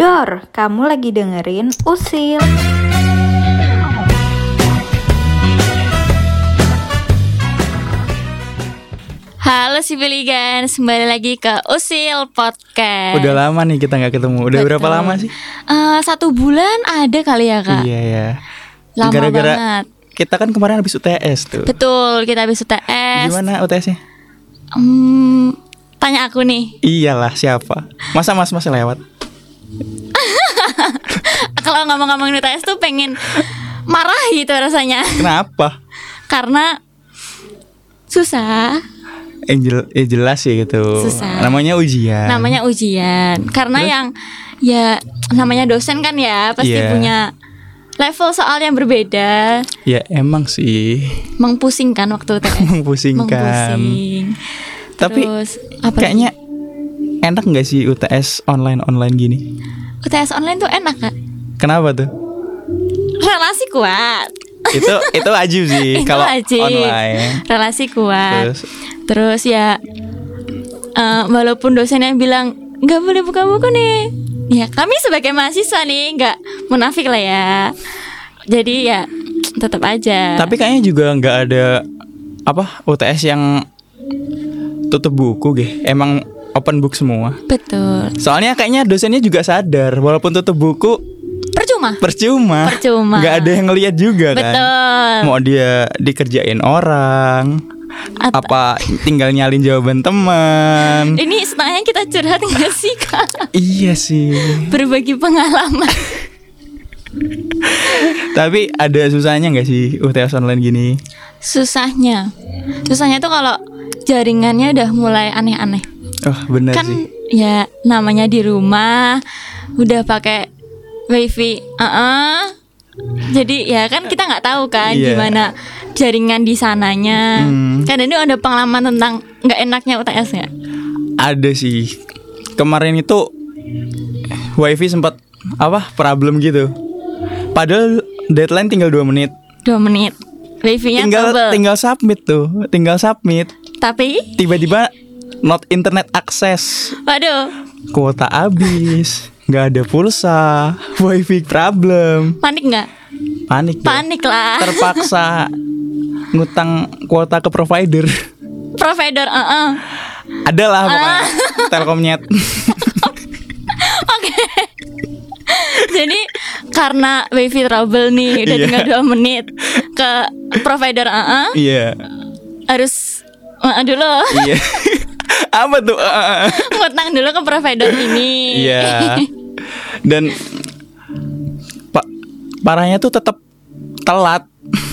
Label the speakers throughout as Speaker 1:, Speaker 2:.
Speaker 1: Dor, kamu lagi dengerin Usil.
Speaker 2: Halo si Biligan, kembali lagi ke Usil Podcast.
Speaker 3: Udah lama nih kita nggak ketemu. Udah
Speaker 2: Eh.
Speaker 3: berapa
Speaker 2: Betul.
Speaker 3: lama sih?
Speaker 2: Eh, satu bulan ada kali ya kak.
Speaker 3: Iya ya.
Speaker 2: Lama
Speaker 3: Gara-gara
Speaker 2: banget.
Speaker 3: kita kan kemarin habis UTS tuh.
Speaker 2: Betul, kita habis UTS.
Speaker 3: Gimana UTS-nya?
Speaker 2: Hmm, tanya aku nih.
Speaker 3: Iyalah siapa? Masa mas mas lewat?
Speaker 2: Kalau ngomong-ngomongin UTS tuh pengen marah gitu rasanya,
Speaker 3: Kenapa?
Speaker 2: karena susah.
Speaker 3: Eh, jel- eh, jelas sih gitu.
Speaker 2: Susah.
Speaker 3: Namanya ujian.
Speaker 2: Namanya ujian. Karena
Speaker 3: Kan. Terus?
Speaker 2: yang ya namanya dosen kan ya pasti
Speaker 3: Iya.
Speaker 2: punya level soal yang berbeda.
Speaker 3: Ya emang sih
Speaker 2: Mengpusingkan waktu UTS.
Speaker 3: mempusingkan.
Speaker 2: Mengpusing.
Speaker 3: Tapi
Speaker 2: Terus, apa
Speaker 3: kayaknya enak nggak sih UTS online online gini?
Speaker 2: lagi? UTS online tuh enak kak.
Speaker 3: Kenapa tuh?
Speaker 2: Relasi kuat.
Speaker 3: itu itu wajib sih
Speaker 2: Itu
Speaker 3: kalau
Speaker 2: wajib.
Speaker 3: online.
Speaker 2: Relasi kuat. Terus,
Speaker 3: Terus
Speaker 2: ya eh, walaupun dosennya bilang nggak boleh buka buku nih. Ya kami sebagai mahasiswa nih nggak munafik lah ya. Jadi ya tetap aja.
Speaker 3: Tapi kayaknya juga nggak ada apa UTS yang tutup buku, gih. Emang open book semua.
Speaker 2: betul.
Speaker 3: Soalnya kayaknya dosennya juga sadar, walaupun tutup buku
Speaker 2: Percuma.
Speaker 3: percuma.
Speaker 2: Percuma.
Speaker 3: Nggak ada yang ngelihat juga kan.
Speaker 2: Betul.
Speaker 3: Mau dia dikerjain orang,
Speaker 2: At-
Speaker 3: apa tinggal nyalin jawaban teman.
Speaker 2: Ini setengahnya kita curhat nggak sih kak?
Speaker 3: iya sih.
Speaker 2: Berbagi pengalaman.
Speaker 3: Tapi ada susahnya nggak sih UTS online gini?
Speaker 2: susahnya susahnya tuh kalau jaringannya udah mulai aneh-aneh
Speaker 3: Oh, bener
Speaker 2: kan
Speaker 3: sih.
Speaker 2: ya namanya di rumah udah pakai wifi uh jadi ya kan kita nggak tahu kan
Speaker 3: Iya.
Speaker 2: gimana jaringan di sananya
Speaker 3: Hmm.
Speaker 2: kan ini ada pengalaman tentang nggak enaknya UTS ya
Speaker 3: Ada sih. Kemarin itu wifi sempat apa problem gitu. Padahal deadline tinggal dua menit.
Speaker 2: dua menit wifi-nya
Speaker 3: tinggal
Speaker 2: Iya, trouble.
Speaker 3: tinggal submit tuh, tinggal submit.
Speaker 2: tapi
Speaker 3: Tiba-tiba not internet akses,
Speaker 2: waduh
Speaker 3: kuota habis, nggak ada pulsa, wifi problem,
Speaker 2: panik nggak
Speaker 3: Ya. panik. deh.
Speaker 2: panik lah
Speaker 3: Terpaksa ngutang kuota ke provider.
Speaker 2: provider uh
Speaker 3: Adalah pokoknya Telkomnet.
Speaker 2: Jadi karena wifi trouble nih udah
Speaker 3: Iya.
Speaker 2: tinggal dua menit ke provider AA
Speaker 3: Iya.
Speaker 2: harus eh, dulu
Speaker 3: Iya. Apa tuh? Ah, ah, ah.
Speaker 2: ngutang dulu ke provider ini.
Speaker 3: Iya. Dan pak parahnya tuh tetap telat,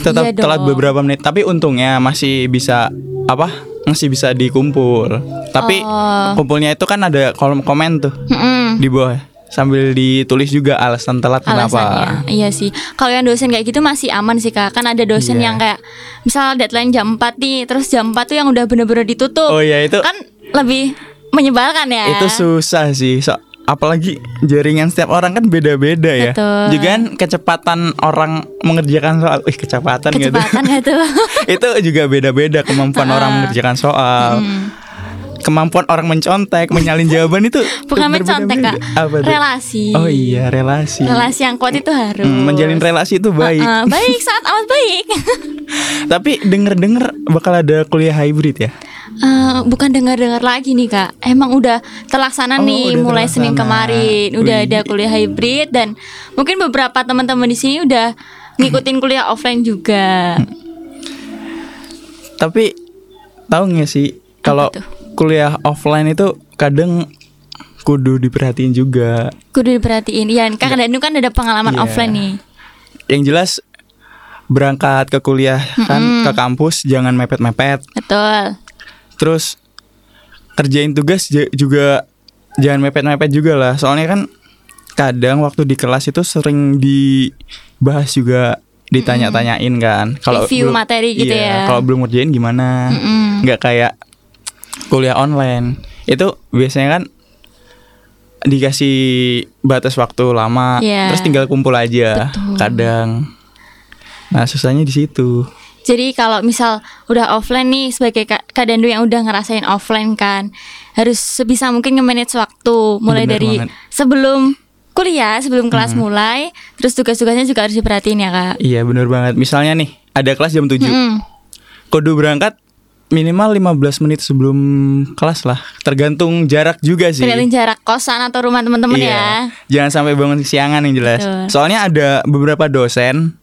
Speaker 3: tetap
Speaker 2: Iya dong.
Speaker 3: telat beberapa menit. Tapi untungnya masih bisa apa? Masih bisa dikumpul. Tapi
Speaker 2: Oh.
Speaker 3: kumpulnya itu kan ada kolom komen tuh
Speaker 2: Mm-mm.
Speaker 3: di bawah ya. sambil ditulis juga alasan telat kenapa.
Speaker 2: Alasannya Iya sih Kalau yang dosen kayak gitu masih aman sih kak Kan ada dosen
Speaker 3: Iya.
Speaker 2: yang kayak Misal deadline jam 4 nih Terus jam 4 tuh yang udah bener-bener ditutup
Speaker 3: Oh iya itu
Speaker 2: Kan lebih menyebalkan ya
Speaker 3: itu susah sih. So, apalagi jaringan setiap orang kan beda-beda ya.
Speaker 2: Betul.
Speaker 3: Juga kan kecepatan orang mengerjakan soal, ih kecepatan, gitu.
Speaker 2: Kecepatan gak tuh
Speaker 3: itu juga beda-beda kemampuan orang
Speaker 2: Ah.
Speaker 3: mengerjakan soal
Speaker 2: Hmm.
Speaker 3: kemampuan orang mencontek menyalin jawaban itu
Speaker 2: Bukan mencontek
Speaker 3: berbeda-beda.
Speaker 2: kak
Speaker 3: Apa tuh?
Speaker 2: Relasi
Speaker 3: oh iya relasi,
Speaker 2: Relasi yang kuat itu harus
Speaker 3: Hmm, menjalin relasi itu Eh, baik
Speaker 2: Uh-uh, baik, sangat amat baik.
Speaker 3: tapi denger-denger bakal ada kuliah hybrid ya
Speaker 2: Eh, bukan dengar-dengar lagi nih kak. Emang udah terlaksana
Speaker 3: Oh,
Speaker 2: nih
Speaker 3: udah
Speaker 2: mulai Senin
Speaker 3: terlaksana.
Speaker 2: kemarin. Udah
Speaker 3: Wih.
Speaker 2: ada kuliah hybrid dan mungkin beberapa teman-teman di sini udah ngikutin kuliah offline juga.
Speaker 3: Hmm. tapi tahu nggak sih kalau
Speaker 2: tuh?
Speaker 3: kuliah offline itu kadang kudu diperhatiin juga
Speaker 2: Kudu diperhatiin. Ya, kak Danu kan ada pengalaman
Speaker 3: Iya.
Speaker 2: offline nih.
Speaker 3: yang jelas berangkat ke kuliah kan ke kampus jangan mepet-mepet
Speaker 2: Betul.
Speaker 3: Terus kerjain tugas ja- juga jangan mepet-mepet juga lah. Soalnya kan kadang waktu di kelas itu sering dibahas juga ditanya-tanyain kan.
Speaker 2: Review materi gitu ya.
Speaker 3: iya, Kalau belum ngerjain gimana?
Speaker 2: Mm-mm.
Speaker 3: Nggak kayak kuliah online. Itu biasanya kan dikasih batas waktu lama,
Speaker 2: Iya.
Speaker 3: terus tinggal kumpul aja.
Speaker 2: Betul.
Speaker 3: Kadang. Nah, susahnya di situ.
Speaker 2: Jadi kalau misal udah offline nih sebagai Kak Kak Dandu yang udah ngerasain offline kan harus sebisa mungkin nge-manage waktu mulai
Speaker 3: Bener
Speaker 2: dari
Speaker 3: banget.
Speaker 2: sebelum kuliah sebelum kelas mulai terus tugas-tugasnya juga harus diperhatiin ya kak
Speaker 3: Iya bener banget Misalnya nih Ada kelas jam 7
Speaker 2: Mm-mm.
Speaker 3: Kudu berangkat Minimal 15 menit sebelum kelas lah Tergantung jarak juga sih
Speaker 2: tergantung jarak kosan atau rumah teman-teman
Speaker 3: Iya.
Speaker 2: ya
Speaker 3: Jangan sampai bangun siangan yang jelas.
Speaker 2: Betul.
Speaker 3: Soalnya ada beberapa dosen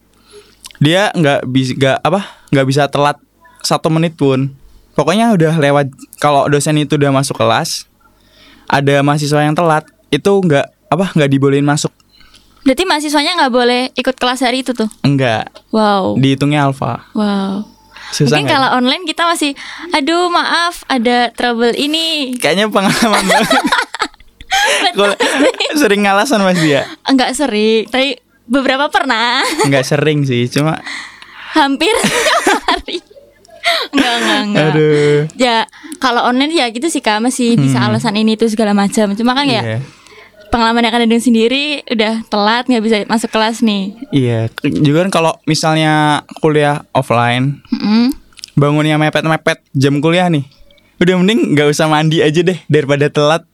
Speaker 3: dia nggak bisa nggak apa nggak bisa telat satu menit pun. Pokoknya udah lewat kalau dosen itu udah masuk kelas ada mahasiswa yang telat itu nggak apa nggak dibolehin masuk
Speaker 2: berarti mahasiswanya nggak boleh ikut kelas hari itu tuh
Speaker 3: enggak
Speaker 2: wow
Speaker 3: dihitungnya alfa
Speaker 2: wow
Speaker 3: susah
Speaker 2: mungkin
Speaker 3: nggak?
Speaker 2: kalau online kita masih aduh maaf ada trouble ini
Speaker 3: kayaknya pengalaman banget Kalau- sering ngalasan mas dia
Speaker 2: enggak sering tapi beberapa pernah
Speaker 3: nggak sering sih cuma
Speaker 2: hampir tiap hari enggak enggak enggak
Speaker 3: aduh Hmm.
Speaker 2: ya kalau online ya gitu sih kak masih bisa alasan ini itu segala macam cuma kan ya
Speaker 3: Iya.
Speaker 2: pengalaman yang kadang sendiri udah telat nggak bisa masuk kelas nih
Speaker 3: Iya, k- juga kan kalau misalnya kuliah offline,
Speaker 2: Mm-mm.
Speaker 3: bangunnya mepet-mepet jam kuliah nih. Udah mending nggak usah mandi aja deh daripada telat.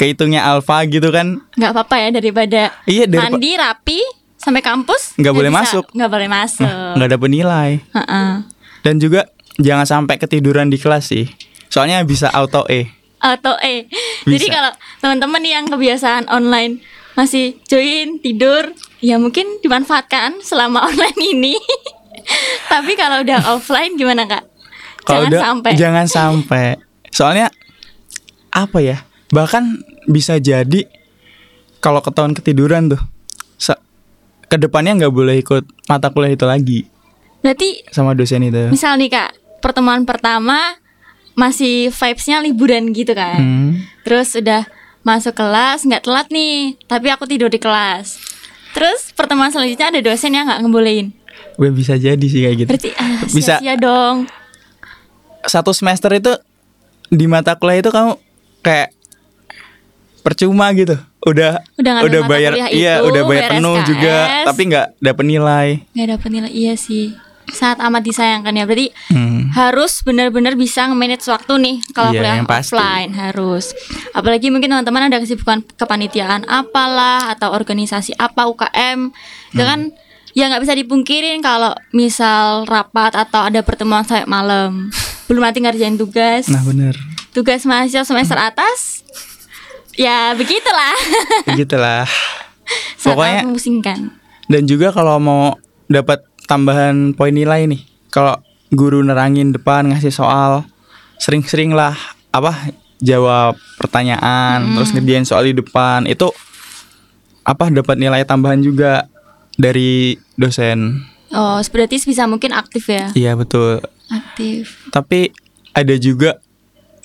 Speaker 3: Kehitungnya alfa gitu kan.
Speaker 2: nggak apa-apa ya daripada
Speaker 3: Iya, daripa-
Speaker 2: mandi rapi sampai kampus
Speaker 3: Nggak
Speaker 2: ya
Speaker 3: boleh
Speaker 2: bisa.
Speaker 3: masuk.
Speaker 2: nggak boleh masuk
Speaker 3: nggak ada penilai.
Speaker 2: Heeh.
Speaker 3: Dan juga jangan sampai ketiduran di kelas sih. Soalnya bisa auto E.
Speaker 2: atau eh jadi
Speaker 3: Bisa.
Speaker 2: kalau teman-teman yang kebiasaan online masih join tidur ya mungkin dimanfaatkan selama online ini tapi kalau udah offline gimana kak
Speaker 3: Kalau
Speaker 2: jangan
Speaker 3: udah-
Speaker 2: sampai
Speaker 3: Jangan sampai. Soalnya apa ya? Bahkan bisa jadi kalau ketahuan ketiduran tuh, se- kedepannya nggak boleh ikut mata kuliah itu lagi.
Speaker 2: berarti
Speaker 3: sama dosen itu.
Speaker 2: Misal nih kak, pertemuan pertama masih vibesnya liburan gitu kan.
Speaker 3: Hmm.
Speaker 2: Terus udah masuk kelas nggak telat nih, tapi aku tidur di kelas. Terus pertemuan selanjutnya ada dosen yang nggak ngebolehin.
Speaker 3: Gue bisa jadi sih kayak gitu.
Speaker 2: Berarti ah,
Speaker 3: Bisa.
Speaker 2: sia-sia dong.
Speaker 3: Satu semester itu di mata kuliah itu kamu kayak percuma gitu. Udah
Speaker 2: Udah ngambil mata
Speaker 3: bayar
Speaker 2: kuliah
Speaker 3: iya,
Speaker 2: itu, kan?
Speaker 3: udah bayar
Speaker 2: bayar
Speaker 3: penuh
Speaker 2: SKS.
Speaker 3: juga, tapi nggak dapet nilai.
Speaker 2: Nggak dapet nilai iya sih. Saat amat disayangkan ya. Berarti
Speaker 3: Hmm.
Speaker 2: harus benar-benar bisa nge-manage waktu nih kalau
Speaker 3: Iya,
Speaker 2: kuliah
Speaker 3: yang pasti.
Speaker 2: offline harus. Apalagi mungkin teman-teman ada kesibukan kepanitiaan apalah atau organisasi apa UKM. Itu kan
Speaker 3: Hmm.
Speaker 2: ya nggak bisa dipungkirin kalau misal rapat atau ada pertemuan sampai malam. Belum nanti ngerjain tugas.
Speaker 3: Nah, Hmm. bener.
Speaker 2: Tugas mahasiswa semester atas. Ya begitulah.
Speaker 3: Begitulah.
Speaker 2: Sangat
Speaker 3: Pokoknya-
Speaker 2: memusingkan.
Speaker 3: Dan juga kalau mau dapat tambahan poin nilai nih, kalau guru nerangin depan ngasih soal, sering-sering lah apa jawab
Speaker 2: Hmm.
Speaker 3: pertanyaan, terus ngerjain soal di depan itu apa dapat nilai tambahan juga dari dosen.
Speaker 2: Oh, berarti bisa mungkin aktif ya.
Speaker 3: Iya betul.
Speaker 2: Aktif.
Speaker 3: Tapi ada juga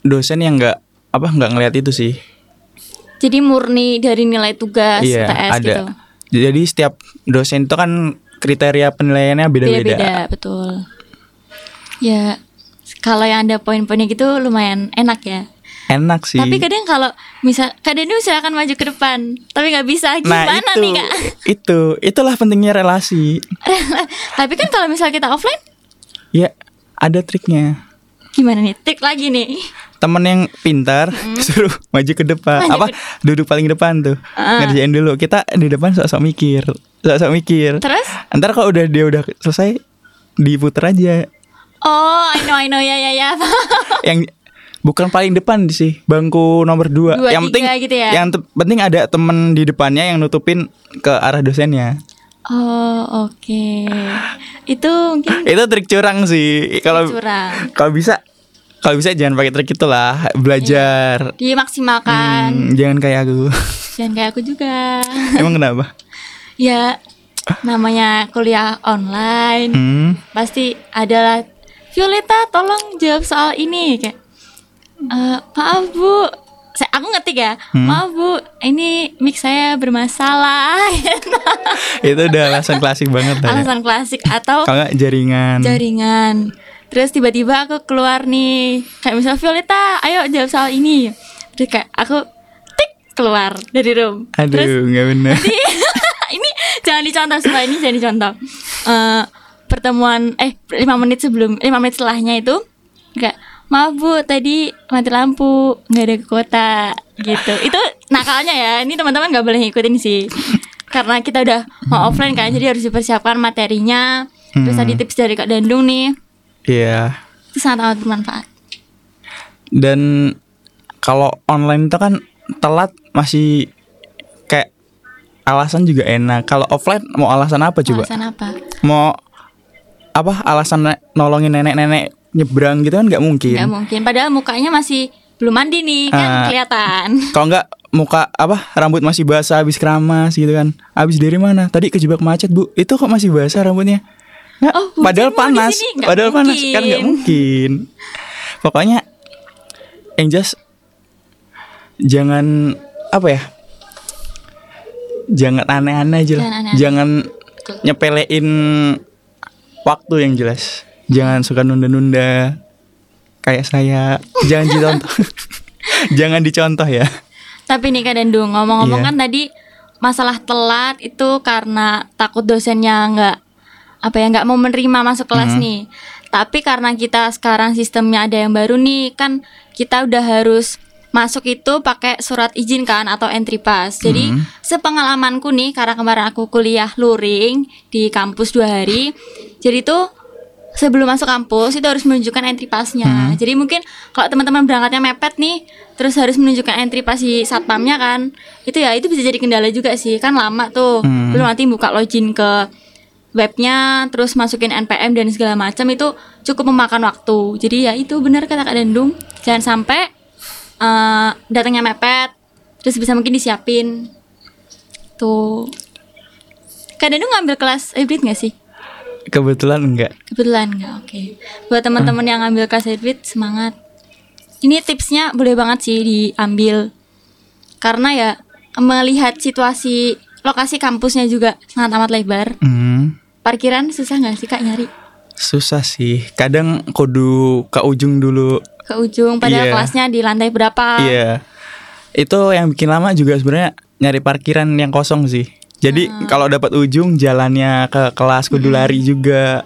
Speaker 3: dosen yang nggak apa nggak ngelihat itu sih.
Speaker 2: Jadi murni dari nilai tugas
Speaker 3: Iya
Speaker 2: UTS
Speaker 3: ada.
Speaker 2: gitu.
Speaker 3: Jadi setiap dosen itu kan kriteria penilaiannya beda-beda.
Speaker 2: Beda-beda, betul. Ya, kalau yang ada poin-poinnya gitu lumayan enak ya.
Speaker 3: Enak sih.
Speaker 2: Tapi kadang kalau misal kadang dia usahakan maju ke depan, tapi nggak bisa gimana
Speaker 3: nah itu
Speaker 2: nih kak?
Speaker 3: itu itulah pentingnya relasi
Speaker 2: tapi kan kalau misal kita offline,
Speaker 3: ya ada triknya
Speaker 2: gimana nih? Trik lagi nih.
Speaker 3: temen yang pintar suruh maju ke depan
Speaker 2: Hmm. Maju Ah.
Speaker 3: apa duduk paling depan tuh ngerjain dulu kita di depan sok-sok mikir sok-sok mikir
Speaker 2: Terus?
Speaker 3: ntar kalau udah dia udah selesai diputer aja
Speaker 2: Oh, I know, I know, ya, ya, ya.
Speaker 3: yang bukan paling depan sih bangku nomor dua,
Speaker 2: Dua, tiga
Speaker 3: yang penting
Speaker 2: gitu ya?
Speaker 3: yang te- penting ada temen di depannya yang nutupin ke arah dosennya
Speaker 2: oh, oke. Itu mungkin
Speaker 3: itu trik curang sih kalau
Speaker 2: Ah. curang.
Speaker 3: kalau bisa kalau bisa jangan pakai trik itu lah belajar
Speaker 2: Dimaksimalkan.
Speaker 3: Hmm, jangan kayak aku
Speaker 2: Jangan kayak aku juga.
Speaker 3: emang kenapa
Speaker 2: ya, namanya kuliah online.
Speaker 3: hmm,
Speaker 2: pasti adalah Violeta tolong jawab soal ini kayak "Eh, maaf bu saya aku ngetik ya
Speaker 3: Hmm.
Speaker 2: maaf bu ini mic saya bermasalah Ya,
Speaker 3: itu udah alasan klasik banget lah ya.
Speaker 2: alasan klasik atau
Speaker 3: kalau nggak jaringan
Speaker 2: jaringan terus tiba-tiba aku keluar nih kayak misal Violeta ayo jawab soal ini terus kayak aku tik keluar dari room terus
Speaker 3: aduh nggak bener
Speaker 2: ini jangan dicontoh sumpah ini jangan dicontoh Eh pertemuan eh lima menit sebelum lima menit setelahnya itu enggak maaf bu tadi mati lampu nggak ada ke kota gitu itu nakalnya ya ini teman-teman nggak boleh ngikutin sih karena kita udah mau offline kan jadi harus dipersiapkan materinya terus
Speaker 3: Hmm.
Speaker 2: tadi tips dari kak Dandung nih
Speaker 3: Iya.
Speaker 2: itu sangat amat bermanfaat
Speaker 3: Dan kalau online itu kan telat masih kayak alasan juga enak. Kalau offline mau alasan apa coba?
Speaker 2: alasan apa
Speaker 3: Mau apa alasan ne- nolongin nenek-nenek nyebrang gitu kan nggak mungkin.
Speaker 2: nggak mungkin padahal mukanya masih belum mandi nih kan
Speaker 3: Ah.
Speaker 2: kelihatan
Speaker 3: Kalau nggak muka apa rambut masih basah habis keramas gitu kan. Habis dari mana? Tadi kejebak macet, Bu. Itu kok masih basah rambutnya? Nggak,
Speaker 2: Oh, hujan
Speaker 3: padahal
Speaker 2: mau di
Speaker 3: panas.
Speaker 2: sini? Nggak
Speaker 3: Padahal panas kan nggak
Speaker 2: mungkin.
Speaker 3: mungkin. Pokoknya yang just jangan apa ya? Jangan aneh-aneh aja lah.
Speaker 2: Jangan aneh-aneh.
Speaker 3: Jangan nyepelein waktu yang jelas. Jangan suka nunda-nunda kayak saya. Jangan dicontoh. Jangan dicontoh ya.
Speaker 2: Tapi nih Kak Dandung, ngomong-ngomong
Speaker 3: Iya.
Speaker 2: kan tadi masalah telat itu karena takut dosennya nggak apa ya nggak mau menerima masuk kelas nih. Tapi karena kita sekarang sistemnya ada yang baru nih, kan kita udah harus masuk itu pakai surat izin kan atau entry pass. Jadi sepengalamanku nih karena kemarin aku kuliah luring di kampus dua hari, jadi tuh sebelum masuk kampus itu harus menunjukkan entry pass-nya. Jadi mungkin kalau teman-teman berangkatnya mepet nih, terus harus menunjukkan entry pass di satpamnya kan. Itu ya itu bisa jadi kendala juga sih. Kan lama tuh.
Speaker 3: Hmm.
Speaker 2: Belum nanti buka login ke webnya, terus masukin NPM dan segala macam itu cukup memakan waktu. Jadi ya itu benar kata Kak Dandung, jangan sampai eh, datangnya mepet terus bisa mungkin disiapin. Tuh. Kak Dandung ngambil kelas hybrid nggak sih?
Speaker 3: Kebetulan enggak.
Speaker 2: Kebetulan nggak oke. Buat teman-teman yang ngambil kelas headwit semangat. Ini tipsnya boleh banget sih diambil. Karena ya melihat situasi lokasi kampusnya juga sangat amat lebar.
Speaker 3: Hmm.
Speaker 2: Parkiran susah nggak sih Kak nyari
Speaker 3: Susah sih. Kadang kudu ke ujung dulu.
Speaker 2: ke ujung padahal
Speaker 3: Iya.
Speaker 2: kelasnya di lantai berapa?
Speaker 3: Iya. Itu yang bikin lama juga sebenarnya nyari parkiran yang kosong sih. Jadi kalau dapat ujung jalannya ke kelas kudu lari juga.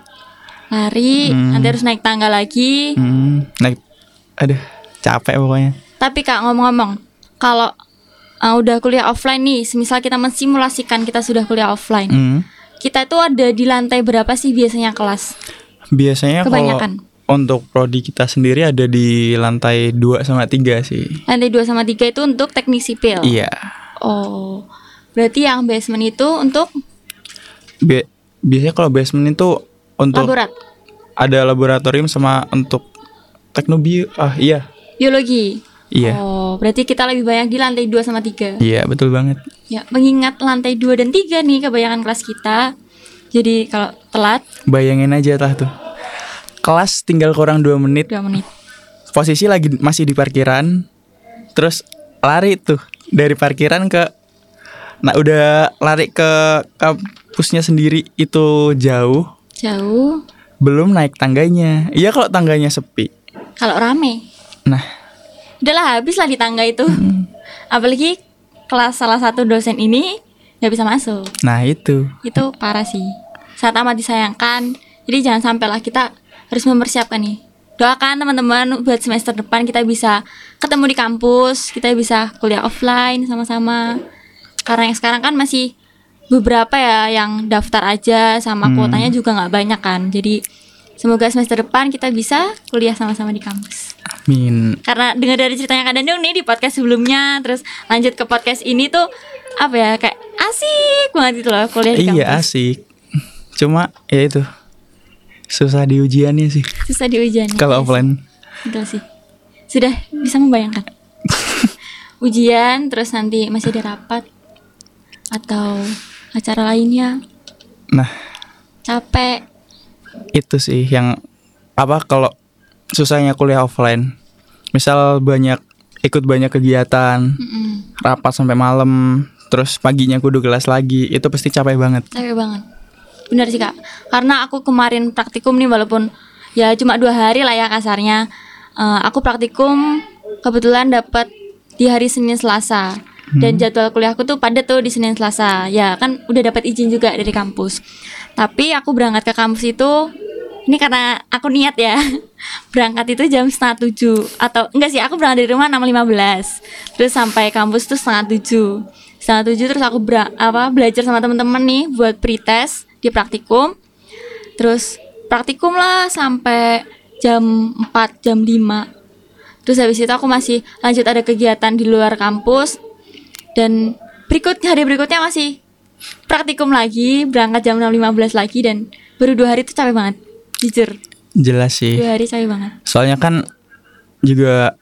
Speaker 2: Lari, nanti harus naik tangga lagi.
Speaker 3: Hmm. Naik. Aduh, capek pokoknya.
Speaker 2: Tapi Kak ngomong-ngomong, kalau uh, udah kuliah offline nih, semisal kita mensimulasikan kita sudah kuliah offline.
Speaker 3: Hmm.
Speaker 2: Kita itu ada di lantai berapa sih biasanya kelas?
Speaker 3: Biasanya kalau
Speaker 2: Kebanyakan.
Speaker 3: untuk prodi kita sendiri ada di lantai 2 sama 3 sih.
Speaker 2: Lantai 2 sama 3 itu untuk teknik sipil.
Speaker 3: Iya.
Speaker 2: Oh. Berarti yang basement itu untuk
Speaker 3: Bi- biasanya kalau basement itu untuk
Speaker 2: laborat,
Speaker 3: ada laboratorium sama untuk teknobio. Ah, iya.
Speaker 2: biologi.
Speaker 3: Iya.
Speaker 2: Oh, berarti kita lebih banyak di lantai 2 sama 3.
Speaker 3: Iya, betul banget.
Speaker 2: Ya, mengingat lantai 2 dan 3 nih kebanyakan kelas kita. Jadi kalau telat
Speaker 3: Bayangin aja lah tuh. Kelas tinggal kurang 2 menit,
Speaker 2: 2 menit.
Speaker 3: posisi lagi masih di parkiran. Terus lari tuh dari parkiran ke Nah, udah lari ke kampusnya sendiri itu jauh,
Speaker 2: Jauh.
Speaker 3: belum naik tangganya. Iya kalau tangganya sepi.
Speaker 2: Kalau rame,
Speaker 3: Nah,
Speaker 2: udahlah habis lah di tangga itu. Apalagi kelas salah satu dosen ini nggak bisa masuk.
Speaker 3: nah itu.
Speaker 2: itu parah sih saat amat disayangkan jadi jangan sampailah kita harus mempersiapkan nih doakan teman-teman buat semester depan kita bisa ketemu di kampus kita bisa kuliah offline sama-sama karena yang sekarang kan masih beberapa ya yang daftar aja sama kuotanya juga nggak banyak kan jadi semoga semester depan kita bisa kuliah sama-sama di kampus
Speaker 3: Amin.
Speaker 2: karena dengar dari ceritanya Kak Dandung nih di podcast sebelumnya terus lanjut ke podcast ini tuh apa ya kayak asik banget gitu loh kuliah di
Speaker 3: Iya
Speaker 2: kampus
Speaker 3: asik. Cuma ya itu susah di ujiannya sih
Speaker 2: susah di ujian
Speaker 3: kalau offline.
Speaker 2: betul sih sudah bisa membayangkan ujian terus nanti masih ada rapat atau acara lainnya
Speaker 3: Nah,
Speaker 2: capek
Speaker 3: itu sih yang apa kalau susahnya kuliah offline. Misal banyak ikut banyak kegiatan,
Speaker 2: Mm-mm,
Speaker 3: rapat sampai malam, terus paginya kudu kelas lagi, itu pasti capek banget.
Speaker 2: capek banget benar sih kak karena aku kemarin praktikum nih walaupun ya cuma dua hari lah ya kasarnya Eh, aku praktikum kebetulan dapat di hari Senin Selasa dan jadwal kuliahku tuh padat tuh di Senin Selasa ya kan udah dapat izin juga dari kampus tapi aku berangkat ke kampus itu Ini karena aku niat ya Berangkat itu jam setengah tujuh Atau enggak sih aku berangkat dari rumah 6.15 Terus sampai kampus tuh setengah tujuh Setengah tujuh terus aku bera- apa, belajar sama temen-temen nih Buat pretest di praktikum Terus praktikum lah sampai jam 4, jam 5 Terus habis itu aku masih lanjut ada kegiatan di luar kampus Dan berikut hari berikutnya masih praktikum lagi Berangkat jam 6.15 lagi dan baru dua hari itu capek banget Jujur,
Speaker 3: Jelas sih.
Speaker 2: dua hari capek banget
Speaker 3: Soalnya kan juga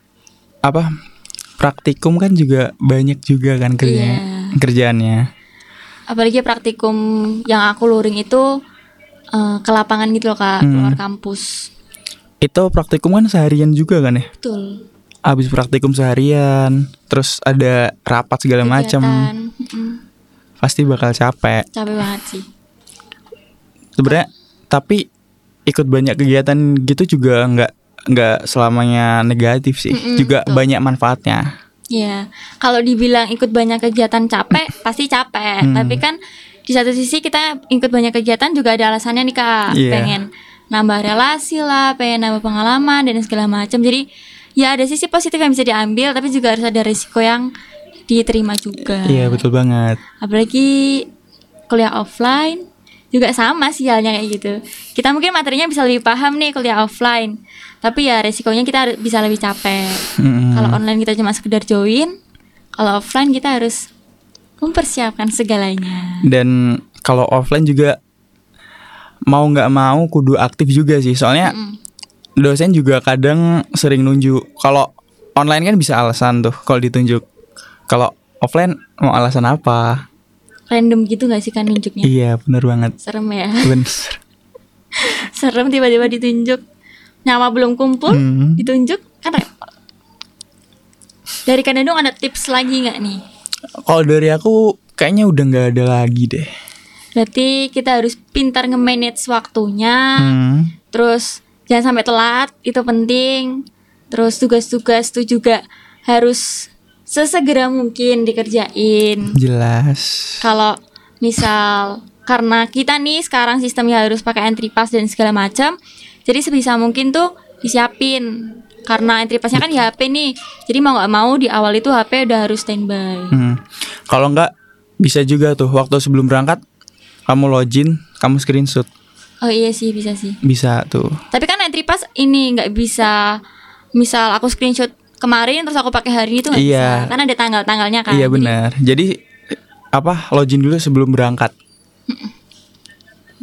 Speaker 3: apa praktikum kan juga banyak juga kan kerjanya,
Speaker 2: Iya.
Speaker 3: kerjaannya.
Speaker 2: Apalagi praktikum yang aku luring itu eh, ke lapangan gitu loh kak, keluar kampus
Speaker 3: Itu praktikum kan seharian juga kan ya.
Speaker 2: Betul
Speaker 3: Habis praktikum seharian, terus ada rapat segala macam,
Speaker 2: Kegiatan, mm-mm.
Speaker 3: pasti bakal capek.
Speaker 2: Capek banget sih
Speaker 3: Sebenarnya tapi ikut banyak kegiatan gitu juga nggak nggak selamanya negatif sih.
Speaker 2: Mm-mm,
Speaker 3: juga
Speaker 2: betul.
Speaker 3: banyak manfaatnya.
Speaker 2: Ya, kalau dibilang ikut banyak kegiatan capek, pasti capek.
Speaker 3: Hmm.
Speaker 2: Tapi kan di satu sisi kita ikut banyak kegiatan juga ada alasannya nih kak,
Speaker 3: Iya.
Speaker 2: pengen nambah relasi lah, pengen nambah pengalaman dan segala macam. Jadi ya ada sisi positif yang bisa diambil, tapi juga harus ada risiko yang diterima juga.
Speaker 3: Iya, betul banget.
Speaker 2: Apalagi kuliah offline juga sama sih halnya kayak gitu. Kita mungkin materinya bisa lebih paham nih kuliah offline, tapi ya resikonya kita harus- bisa lebih capek.
Speaker 3: Mm-mm.
Speaker 2: Kalau online kita cuma sekedar join, kalau offline kita harus mempersiapkan segalanya.
Speaker 3: dan kalau offline juga mau nggak mau kudu aktif juga sih soalnya dosen juga kadang sering nunjuk kalau online kan bisa alasan tuh kalau ditunjuk kalau offline mau alasan apa
Speaker 2: Random gitu gak sih kan nunjuknya?
Speaker 3: iya bener banget
Speaker 2: Serem ya.
Speaker 3: bener
Speaker 2: Serem tiba-tiba ditunjuk. Nyawa belum kumpul,
Speaker 3: Hmm.
Speaker 2: ditunjuk kan repot. Dari Kandung ada tips lagi nggak nih?
Speaker 3: kalau dari aku kayaknya udah nggak ada lagi deh
Speaker 2: Berarti kita harus pintar nge-manage waktunya.
Speaker 3: Hmm.
Speaker 2: Terus jangan sampai telat, itu penting. Terus tugas-tugas itu juga harus sesegera mungkin dikerjain.
Speaker 3: jelas
Speaker 2: kalau misal karena kita nih sekarang sistemnya harus pakai entry pass dan segala macam jadi sebisa mungkin tuh disiapin karena entry passnya kan di HP nih jadi mau nggak mau di awal itu HP udah harus standby
Speaker 3: Hmm. kalau nggak bisa juga tuh waktu sebelum berangkat kamu login kamu screenshot
Speaker 2: oh iya sih bisa sih
Speaker 3: bisa tuh
Speaker 2: tapi kan entry pass ini nggak bisa misal aku screenshot kemarin terus aku pakai hari itu nggak
Speaker 3: Iya.
Speaker 2: bisa kan ada tanggal-tanggalnya kan
Speaker 3: Iya
Speaker 2: Jadi-
Speaker 3: benar. Jadi apa login dulu sebelum berangkat.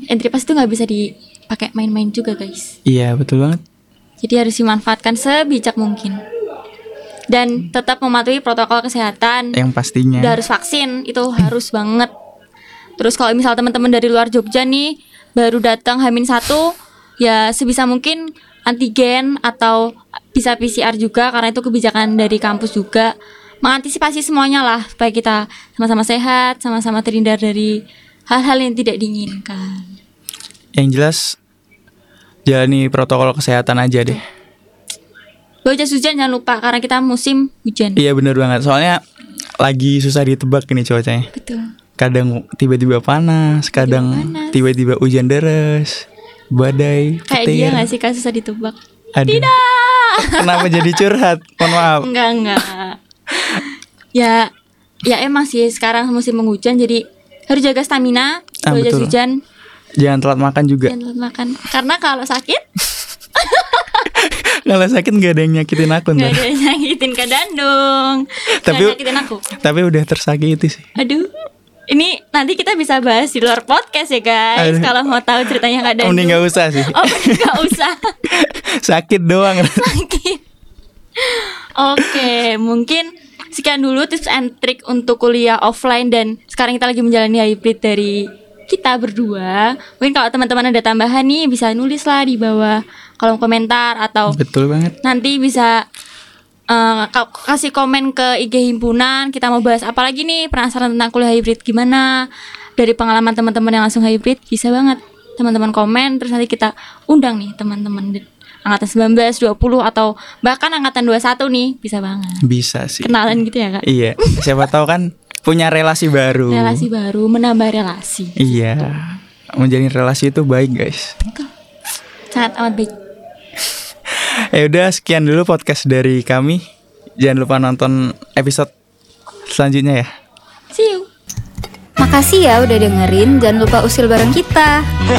Speaker 2: entry pass itu nggak bisa dipakai main-main juga guys
Speaker 3: Iya betul banget.
Speaker 2: Jadi harus dimanfaatkan sebijak mungkin. Dan tetap mematuhi protokol kesehatan.
Speaker 3: Yang pastinya.
Speaker 2: Udah harus vaksin, itu harus banget. Terus kalau misal teman-teman dari luar Jogja nih baru datang Hamin satu, ya sebisa mungkin antigen atau bisa PCR juga karena itu kebijakan dari kampus juga mengantisipasi semuanya lah supaya kita sama-sama sehat, sama-sama terhindar dari hal-hal yang tidak diinginkan.
Speaker 3: Yang jelas jalani protokol kesehatan aja deh.
Speaker 2: Bawa jas hujan jangan lupa karena kita musim hujan.
Speaker 3: Iya benar banget. Soalnya lagi susah ditebak ini cuacanya.
Speaker 2: Betul.
Speaker 3: Kadang tiba-tiba panas, kadang
Speaker 2: panas.
Speaker 3: tiba-tiba hujan deras, badai,
Speaker 2: Kayak
Speaker 3: petir.
Speaker 2: dia gak sih kasus susah ditebak?
Speaker 3: Aduh,
Speaker 2: Tidak
Speaker 3: Kenapa jadi curhat? Mohon maaf.
Speaker 2: Enggak, enggak Ya Ya emang sih sekarang musim menghujan jadi harus jaga stamina
Speaker 3: Ah,
Speaker 2: Kalau jas
Speaker 3: betul. Ya.
Speaker 2: hujan
Speaker 3: Jangan telat makan juga.
Speaker 2: dan telat makan Karena kalau sakit
Speaker 3: Kalau sakit nggak ada yang nyakitin aku
Speaker 2: nggak
Speaker 3: ntar.
Speaker 2: ada yang nyakitin ke dandung
Speaker 3: Tapi-
Speaker 2: Nggak nyakitin aku
Speaker 3: Tapi udah tersakiti sih.
Speaker 2: Aduh Ini nanti kita bisa bahas di luar podcast ya guys
Speaker 3: Aduh.
Speaker 2: Kalau mau tahu ceritanya Kak Dandung
Speaker 3: Mending nggak usah sih.
Speaker 2: Oh mending nggak usah
Speaker 3: Sakit doang.
Speaker 2: lagi. Oke, mungkin sekian dulu tips and trick untuk kuliah offline dan sekarang kita lagi menjalani hybrid dari kita berdua. Mungkin kalau teman-teman ada tambahan nih bisa nulis lah di bawah kolom komentar atau
Speaker 3: Betul banget.
Speaker 2: nanti bisa eh, ka- kasih komen ke IG himpunan. Kita mau bahas apa lagi nih? Penasaran tentang kuliah hybrid gimana? Dari pengalaman teman-teman yang langsung hybrid bisa banget. Teman-teman komen terus nanti kita undang nih teman-teman di- angkatan 19, 20 atau bahkan angkatan 21 nih bisa banget.
Speaker 3: Bisa sih.
Speaker 2: Kenalan gitu ya, Kak.
Speaker 3: Iya, siapa tahu kan punya relasi baru.
Speaker 2: Relasi baru, menambah relasi.
Speaker 3: Iya. Menjalin relasi itu baik, guys.
Speaker 2: sangat amat baik
Speaker 3: Ya udah sekian dulu podcast dari kami. Jangan lupa nonton episode selanjutnya ya.
Speaker 2: see you
Speaker 1: Makasih ya udah dengerin. Jangan lupa usil bareng kita.